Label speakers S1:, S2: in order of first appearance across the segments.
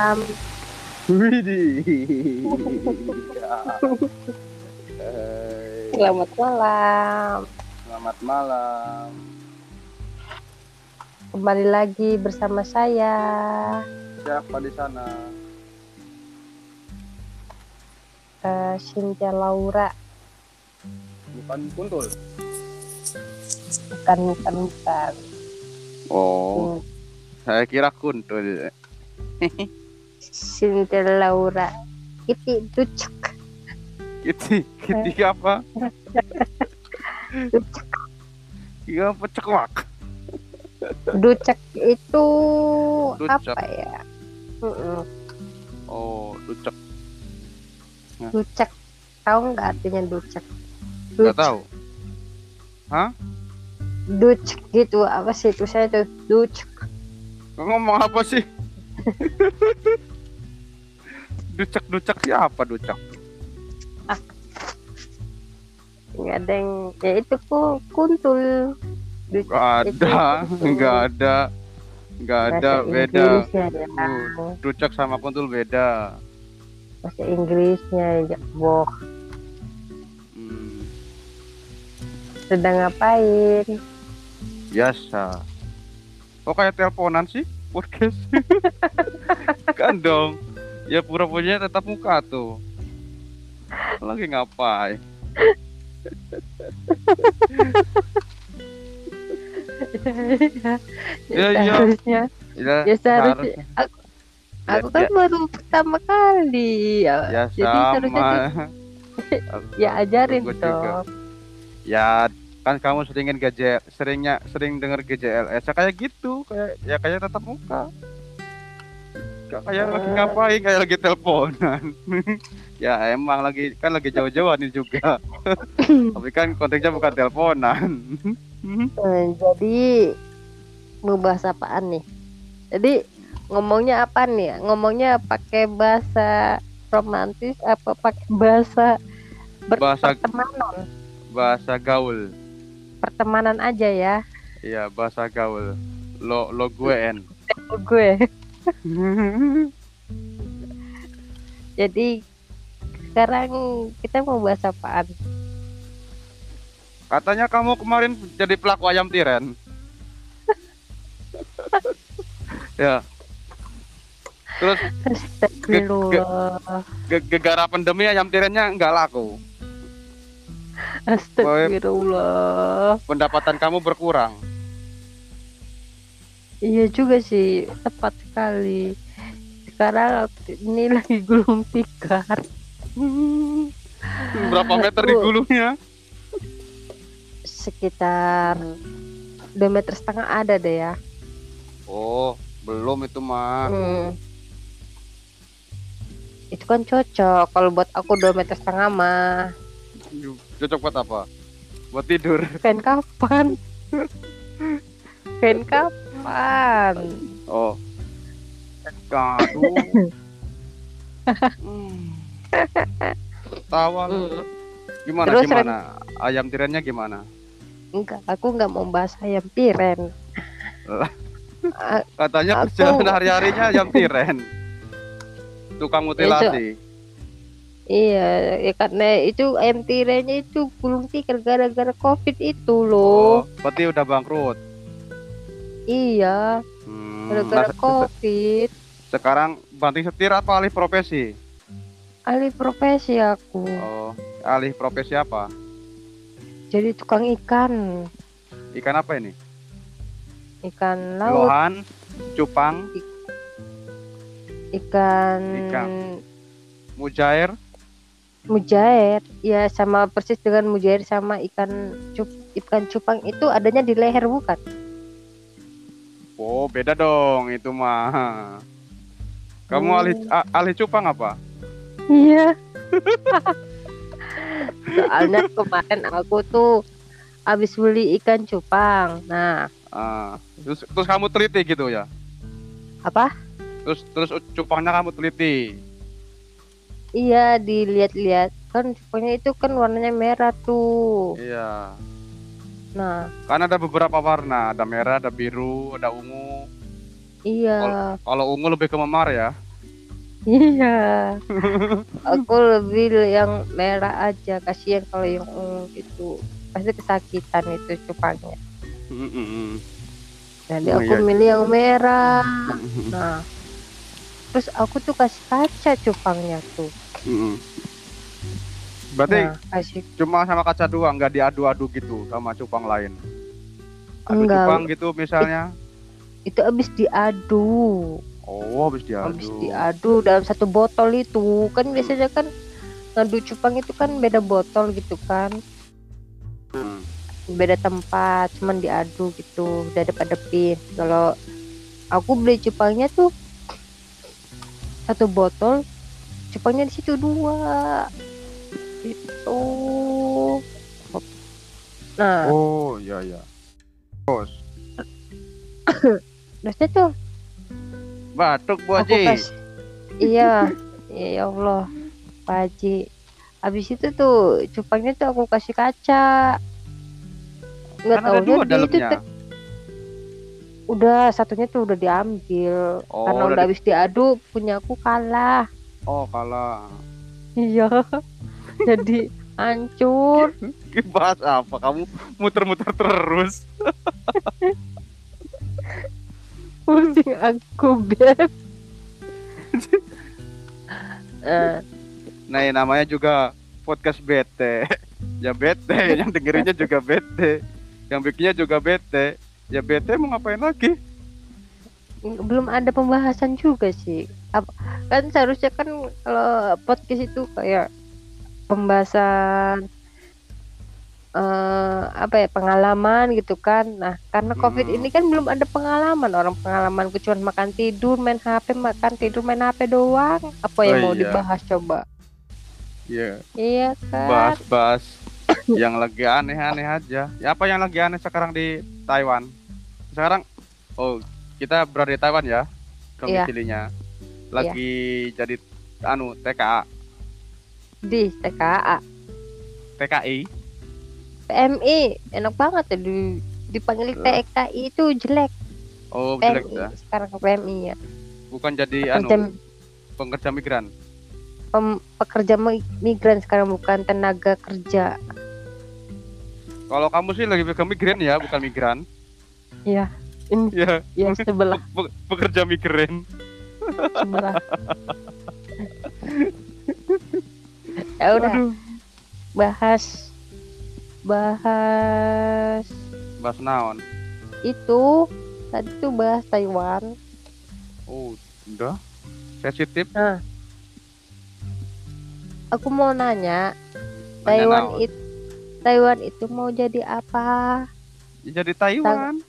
S1: Um,
S2: Widih. Hai,
S1: selamat malam.
S2: Selamat malam.
S1: Kembali lagi bersama saya.
S2: Siapa di sana?
S1: eh, Cynthia Laura.
S2: Bukan kuntul.
S1: Bukan, bukan, bukan.
S2: Oh, saya kira kuntul.
S1: Cynthia Laura. Itu ducek.
S2: Kiti, kiti apa? Iya, pecekwak.
S1: Ducek itu
S2: Ducek.
S1: apa ya? Mm-mm,
S2: Oh, lucek.
S1: Ducek. Tahu nggak artinya ducek?
S2: Enggak tahu.
S1: Ducek gitu. Apa sih itu saya tuh? Ducek.
S2: Kau ngomong apa sih? Ducek-ducek siapa ducek?
S1: Nggak ada yang... Ya itu ku, kuntul. Ducek
S2: Enggak
S1: itu
S2: ada,
S1: kuntul.
S2: enggak ada. Enggak ada
S1: Bahasa
S2: beda.
S1: Inggrisnya ya.
S2: Hmm. Ducek sama kuntul beda.
S1: Bahasa Inggrisnya ya. Boh.
S2: Hmm,
S1: Sedang ngapain?
S2: biasa. Kok kayak teleponan sih podcast? kan dong. Ya pura-puranya tetap muka tuh. Lagi ngapain? Iya, iya.
S1: Seharusnya.
S2: Ya,
S1: Ya, seharusnya.
S2: harus-
S1: Aku
S2: Ya,
S1: kan baru pertama kali. Ya,
S2: ya,
S1: jadi seharusnya
S2: sama.
S1: tuh- ya ajarin
S2: Gua Iya, juga.
S1: dong.
S2: Ya kan kamu seringin GJ, seringnya sering denger GJLS ya kayak gitu, kayak ya kayak tatap muka. Kayak, kayak lagi
S1: Eh.
S2: ngapain, kayak lagi teleponan. ya emang lagi kan lagi jauh-jauh nih juga. Tapi kan konteksnya bukan teleponan.
S1: Eh, jadi mau bahas apaan nih? Jadi ngomongnya apa nih? Ngomongnya pakai bahasa romantis apa pakai bahasa ber-
S2: Bahasa-
S1: pertemanan?
S2: bahasa gaul.
S1: Pertemanan aja ya.
S2: Iya, bahasa gaul. Lo lo gue en.
S1: Gue. Jadi sekarang kita mau bahas apaan?
S2: Katanya kamu kemarin jadi pelaku ayam tiren. ya. Terus
S1: Astagfirullah.
S2: ge- gegara pandemi ayam tirennya nggak laku.
S1: Astagfirullah.
S2: Pendapatan kamu berkurang.
S1: Iya juga sih, tepat sekali. Sekarang aku- ini lagi gulung tikar.
S2: Berapa meter di gulungnya?
S1: Sekitar 2 meter setengah ada deh ya.
S2: Oh, belum itu mah.
S1: Hmm. Itu kan cocok kalau buat aku 2 meter setengah mah.
S2: Cocok buat apa? Buat tidur.
S1: Kain kapan? Kain kapan?
S2: Oh. Aduh. Hmm. Tawa lu.
S1: Hmm.
S2: Gimana
S1: Terus, Ren?
S2: gimana? Ayam tirennya gimana?
S1: Enggak, aku enggak mau bahas ayam tiren.
S2: Lah.
S1: Ah,
S2: Katanya
S1: Aku-
S2: kerjaan hari-harinya ayam tiren. Tukang mutilasi.
S1: Iya, ya karena itu ayam tirainya itu gulung tikar gara-gara covid itu
S2: Oh,
S1: loh.
S2: berarti udah bangkrut.
S1: Iya,
S2: Hmm,
S1: gara-gara
S2: nah, se-
S1: covid.
S2: sekarang banting setir apa alih profesi?
S1: Alih profesi aku,
S2: Oh, alih profesi apa?
S1: jadi tukang ikan,
S2: Ikan apa ini?
S1: ikan laut,
S2: Lohan, cupang,
S1: ikan,
S2: Ikan. mujair.
S1: mujair. Ya sama persis dengan mujair sama ikan cup, ikan cupang itu adanya di leher bukan?
S2: Oh, beda dong itu mah. Kamu alih
S1: Oh.
S2: a- alih cupang apa?
S1: Iya. Soalnya kemarin aku tuh habis beli ikan cupang. Nah,
S2: Ah, terus terus kamu teliti gitu ya.
S1: apa?
S2: Terus terus cupangnya kamu teliti.
S1: Iya dilihat-lihat kan cupangnya itu kan warnanya merah tuh.
S2: Iya.
S1: Nah
S2: Kan ada beberapa warna, ada merah, ada biru, ada ungu.
S1: iya
S2: Kalau ungu lebih ke memar ya.
S1: Iya. Aku lebih yang merah aja. Kasihan kalau yang ungu gitu. Pasti kesakitan itu cupangnya.
S2: Mm-mm.
S1: Jadi
S2: Oh,
S1: aku
S2: iya.
S1: milih yang merah. Nah. Terus aku tuh kasih kaca cupangnya tuh.
S2: Mm-mm. Berarti
S1: Nah, kasih
S2: cuma sama kaca doang, nggak diadu-adu gitu sama cupang lain. Adu
S1: Enggak.
S2: cupang gitu misalnya.
S1: itu habis diadu.
S2: Oh, habis diadu.
S1: habis diadu dalam satu botol itu kan biasanya kan ngadu cupang itu kan beda botol gitu kan
S2: Hmm.
S1: beda tempat cuman diadu gitu udah depan depin kalau aku beli cupangnya tuh satu botol cupangnya di situ dua itu nah
S2: Oh, iya iya. Bos,
S1: terusnya tuh
S2: batuk Bu
S1: aku
S2: Haji.
S1: pas iya ya Allah Pak Haji habis itu tuh cupangnya tuh aku kasih kaca nggak
S2: Kan ada
S1: tahu
S2: dua
S1: dia itu
S2: dalamnya.
S1: te- udah satunya tuh udah diambil
S2: Oh,
S1: karena
S2: udah
S1: udah habis diadu punya aku kalah
S2: Oh, kalah.
S1: iya jadi hancur
S2: Bahas apa? Kamu muter-muter terus.
S1: pusing aku beb Eh,
S2: Nah, yang namanya juga podcast bete. ya bete, yang dengerinnya juga bete. Yang bikinnya juga bete. Ya bete mau ngapain lagi?
S1: belum ada pembahasan juga sih Ap- kan seharusnya kan kalau podcast itu kayak pembahasan eh apa ya pengalaman gitu kan nah karena covid
S2: Hmm.
S1: ini kan belum ada pengalaman orang pengalaman cuma makan tidur main hp makan tidur main hp doang apa
S2: Oh,
S1: yang mau
S2: iya.
S1: dibahas coba
S2: Iya,
S1: iya kan
S2: bahas-bahas yang lagi aneh-aneh aja. Ya apa yang lagi aneh sekarang di Taiwan? Sekarang oh, kita berada di Taiwan ya. Domisilinya.
S1: Iya.
S2: Lagi jadi anu TKA,
S1: di TKA
S2: TKI.
S1: PMI enak banget ya di dipanggil
S2: Lah.
S1: TKI itu jelek
S2: Oh, jelek
S1: PMI
S2: ya.
S1: sekarang ke PMI ya
S2: Bukan jadi
S1: Kerja
S2: anu pekerja migran.
S1: pem- pekerja mi- migran sekarang bukan tenaga kerja.
S2: Kalau kamu sih lebih ke migran ya, bukan migran.
S1: Iya. In-
S2: Ya.
S1: ya sebelah
S2: Pe- pekerja migran
S1: sebelah. ya udah
S2: Aduh.
S1: bahas bahas
S2: Bahas naon.
S1: itu tadi tuh bahas Taiwan.
S2: Oh, udah. Sensitif.
S1: Aku mau nanya
S2: nanya
S1: Taiwan
S2: naon.
S1: itu Taiwan itu mau jadi apa?
S2: Ya, jadi Taiwan.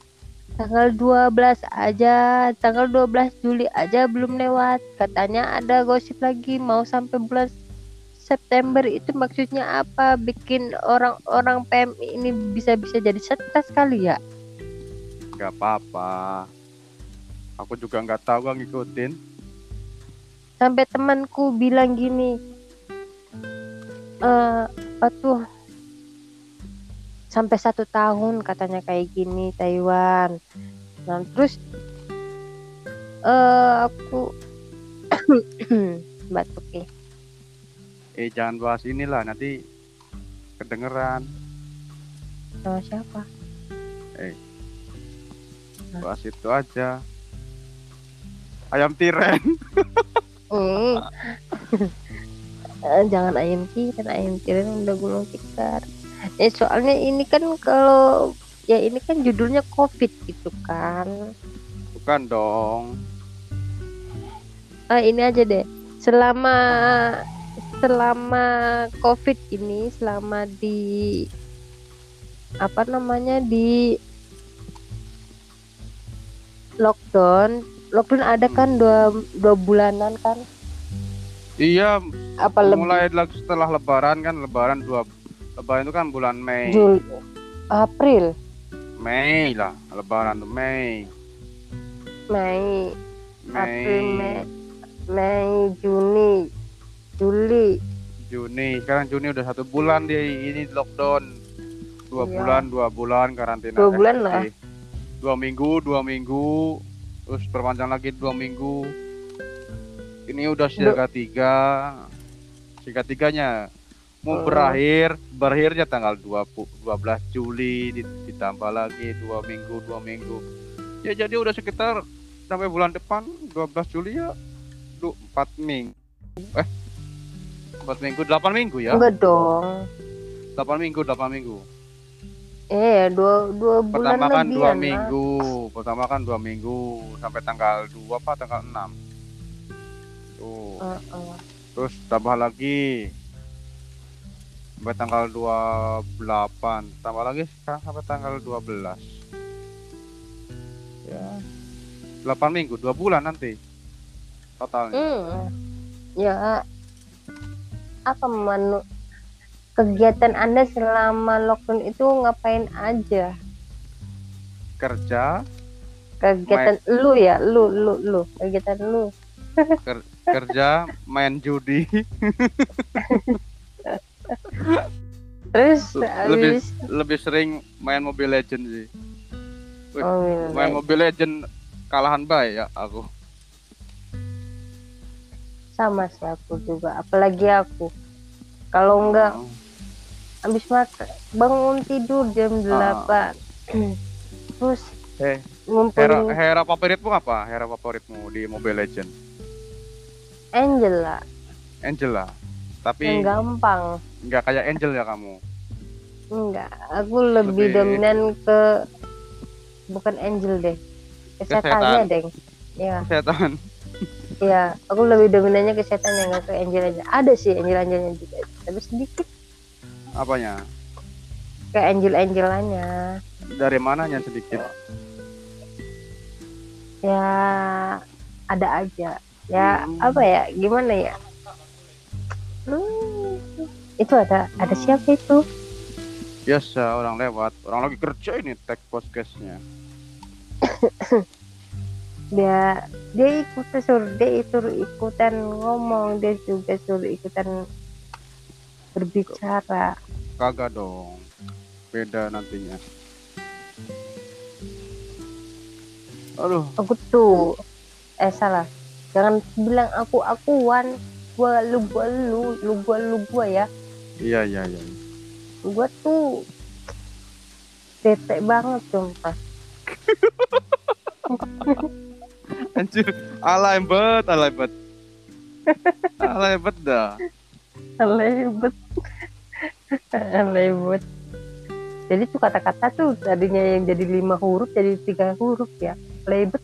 S1: Tanggal 12 aja, tanggal 12 Juli aja belum lewat. Katanya ada gosip lagi mau sampai bulan September itu maksudnya apa? Bikin orang-orang PMI ini bisa-bisa jadi stres kali ya?
S2: Gak apa-apa. Aku juga nggak tahu gak ngikutin.
S1: Sampai temanku bilang gini, eh apa tuh? Sampai satu tahun katanya kayak gini Taiwan. Nah terus eh aku batuk ya nih.
S2: Eh jangan bahas inilah nanti kedengeran.
S1: sama siapa
S2: Bahas itu aja. Ayam tiren.
S1: Hmm. Eh, jangan ayam tiren ayam tiren udah gulung tikar eh soalnya ini kan kalau ya ini kan judulnya covid gitu kan
S2: Bukan dong.
S1: ah ini aja deh selama selama covid ini selama di apa namanya di lockdown lockdown ada kan dua dua bulanan kan
S2: Iya,
S1: apa lebih
S2: mulai lagi setelah lebaran kan lebaran dua lebaran itu kan bulan Mei.
S1: Jul April
S2: Mei lah, lebaran tuh Mei.
S1: Mei April,
S2: Mei,
S1: Mei, Mei, Juni, Juli.
S2: Juni. Sekarang Juni udah satu bulan dia ini lockdown. Dua
S1: Iya.
S2: bulan, dua bulan karantina.
S1: Dua
S2: Eh,
S1: bulan
S2: nanti.
S1: lah.
S2: Dua minggu, dua minggu. Terus perpanjang lagi dua minggu. ini udah siaga tiga siaga tiganya
S1: Oh.
S2: mau berakhir berakhirnya tanggal 20, 12 Juli di- ditambah lagi dua minggu dua minggu ya jadi udah sekitar sampai bulan depan 12 Juli ya du, 4 minggu eh 4 minggu 8 minggu ya
S1: Enggak dong.
S2: 8 minggu 8 minggu
S1: Eh, dua dua bulan
S2: pertama kan
S1: lebih ya,
S2: dua minggu pertama kan dua minggu sampai tanggal 2 apa tanggal 6 tuh
S1: Oh.
S2: Terus tambah lagi sampai tanggal 28, tambah lagi sekarang sampai tanggal 12. Ya. 8 minggu, 2 bulan nanti. Totalnya.
S1: Hmm. Ya apa manu kegiatan Anda selama lockdown itu ngapain aja?
S2: Kerja,
S1: Kegiatan lu ya, lu lu lu, kegiatan lu.
S2: kerja, main judi,
S1: Terus
S2: Lebih-
S1: habis-
S2: lebih sering main Mobile Legend sih.
S1: Oh, iya,
S2: Main Mobile Legend kalahan baik ya aku.
S1: sama sih aku juga, apalagi aku. Kalau enggak habis makan bangun tidur jam
S2: Ah.
S1: 8. Terus
S2: Eh, Hera,
S1: ngumpulin
S2: hera favoritmu apa? Hera favoritmu di Mobile Legend?
S1: Angel lah,
S2: Angela.
S1: yang
S2: Tapi
S1: gampang.
S2: nggak kayak Angel ya kamu.
S1: Enggak, aku lebih,
S2: Lebih-
S1: dominan ke bukan angel deh.
S2: Ke
S1: Ke setannya, Deng. Ya,
S2: Setan.
S1: ya, aku lebih dominannya ke setan yang enggak ke angel aja. Ada sih angel-angelnya juga, tapi sedikit
S2: Apanya?
S1: ke angel-angelannya.
S2: Dari mananya sedikit?
S1: Ya, ada aja. Ya,
S2: Hmm.
S1: apa ya? Gimana ya? Hmm, itu ada ada siapa itu?
S2: Biasa orang lewat. Orang lagi kerja ini tag podcastnya.
S1: Dia dia ikut suruh dia itu ikutan ngomong, dia juga suruh ikutan berbicara.
S2: Kagak dong. Beda nantinya. Aduh,
S1: aku tuh eh salah jangan bilang aku akuan gua lu gua lu lu gua lu gua ya
S2: iya iya iya.
S1: gua tuh bete banget sumpah
S2: Anjir, alay bet, alay bet. Alay bet dah.
S1: lebet lebet jadi tuh kata-kata tuh tadinya yang jadi lima huruf jadi tiga huruf ya lebet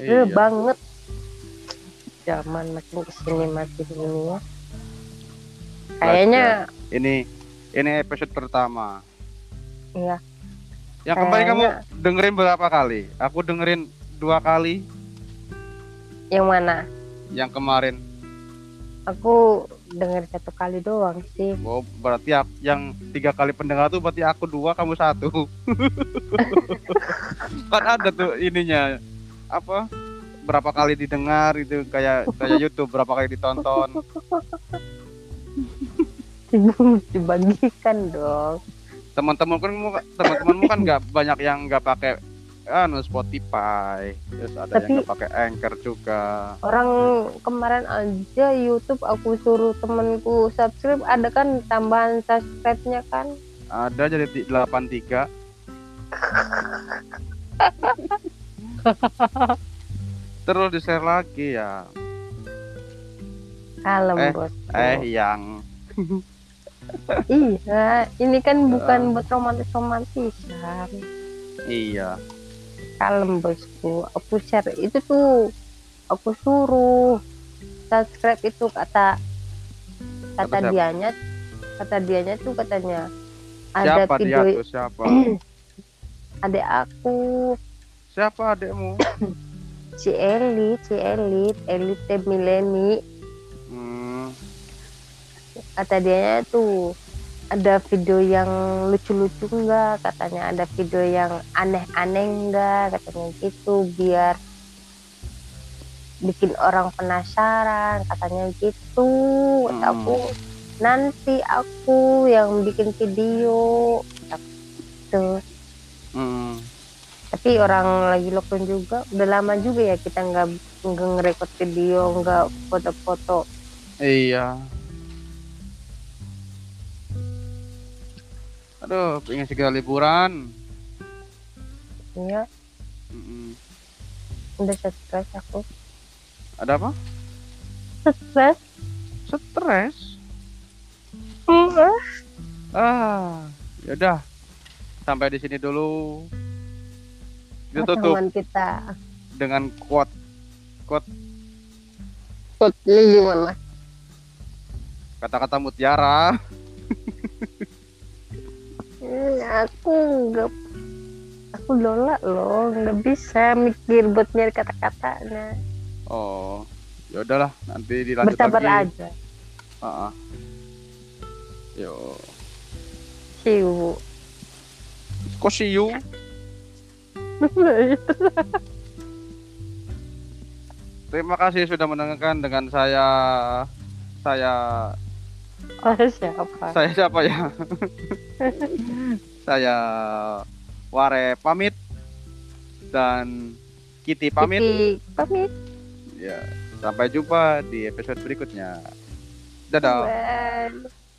S2: Iya.
S1: banget zaman makin kesini makin ini ya kayaknya
S2: Ini ini episode pertama.
S1: Iya.
S2: Yang kemarin kamu
S1: Kayaknya-
S2: dengerin berapa kali? Aku dengerin dua kali
S1: yang mana
S2: yang kemarin.
S1: aku dengar satu kali doang sih
S2: Oh, berarti ak- yang tiga kali pendengar tuh berarti aku dua, kamu satu. kan ada tuh ininya apa? Berapa kali didengar itu kayak kayak YouTube berapa kali ditonton.
S1: dibagikan dong
S2: Teman-teman kan teman-temanmu kan nggak banyak yang nggak pakai anu Spotify. Terus ada
S1: Tapi-
S2: yang nggak pakai Anchor juga.
S1: orang kemarin aja YouTube aku suruh temenku subscribe ada kan tambahan subscribe-nya kan
S2: Ada jadi ti- 83. Terus di-share lagi ya.
S1: kalem
S2: Eh,
S1: bos
S2: Eh, yang
S1: iya ini kan bukan buat kan? romantis romantisan
S2: Iya,
S1: kalem bosku aku share itu tuh aku suruh subscribe itu kata kata
S2: siapa?
S1: dianya kata dianya tuh katanya ada
S2: siapa dia
S1: video
S2: tuh siapa?
S1: adek aku
S2: siapa adekmu?
S1: si Eli si Elit Elite Mileni
S2: Hmm,
S1: kata dia tuh ada video yang lucu-lucu enggak katanya ada video yang aneh-aneh enggak katanya gitu biar bikin orang penasaran katanya gitu Kata
S2: Hmm.
S1: aku nanti aku yang bikin video Kata- tuh
S2: hmm.
S1: tapi Gitu. Tapi orang lagi lockdown juga, udah lama juga ya kita nggak nggak ngerekod video, nggak foto-foto.
S2: Iya. Aduh, pengen segera liburan. Hmm,
S1: Ya,
S2: Mm-mm.
S1: udah stres aku.
S2: Ada apa?
S1: Stres?
S2: Stres.
S1: Heeh.
S2: Ah, yaudah. Sampai di sini dulu. Kita tutup
S1: Teman kita.
S2: dengan quote
S1: Kok gimana?
S2: kata-kata mutiara.
S1: Hmm, aku nggak aku lola loh nggak bisa mikir buat nyari kata-kata nah
S2: Oh, ya udahlah nanti dilanjut
S1: bersabar
S2: lagi.
S1: aja
S2: Ah, ah. Yo,
S1: siwu
S2: kok see you? Terima kasih sudah mendengarkan dengan saya saya
S1: oh siapa
S2: saya siapa ya? saya Ware pamit dan Kitty pamit.
S1: Kiki, pamit
S2: Ya, sampai jumpa di episode berikutnya. Dadah.
S1: Bye.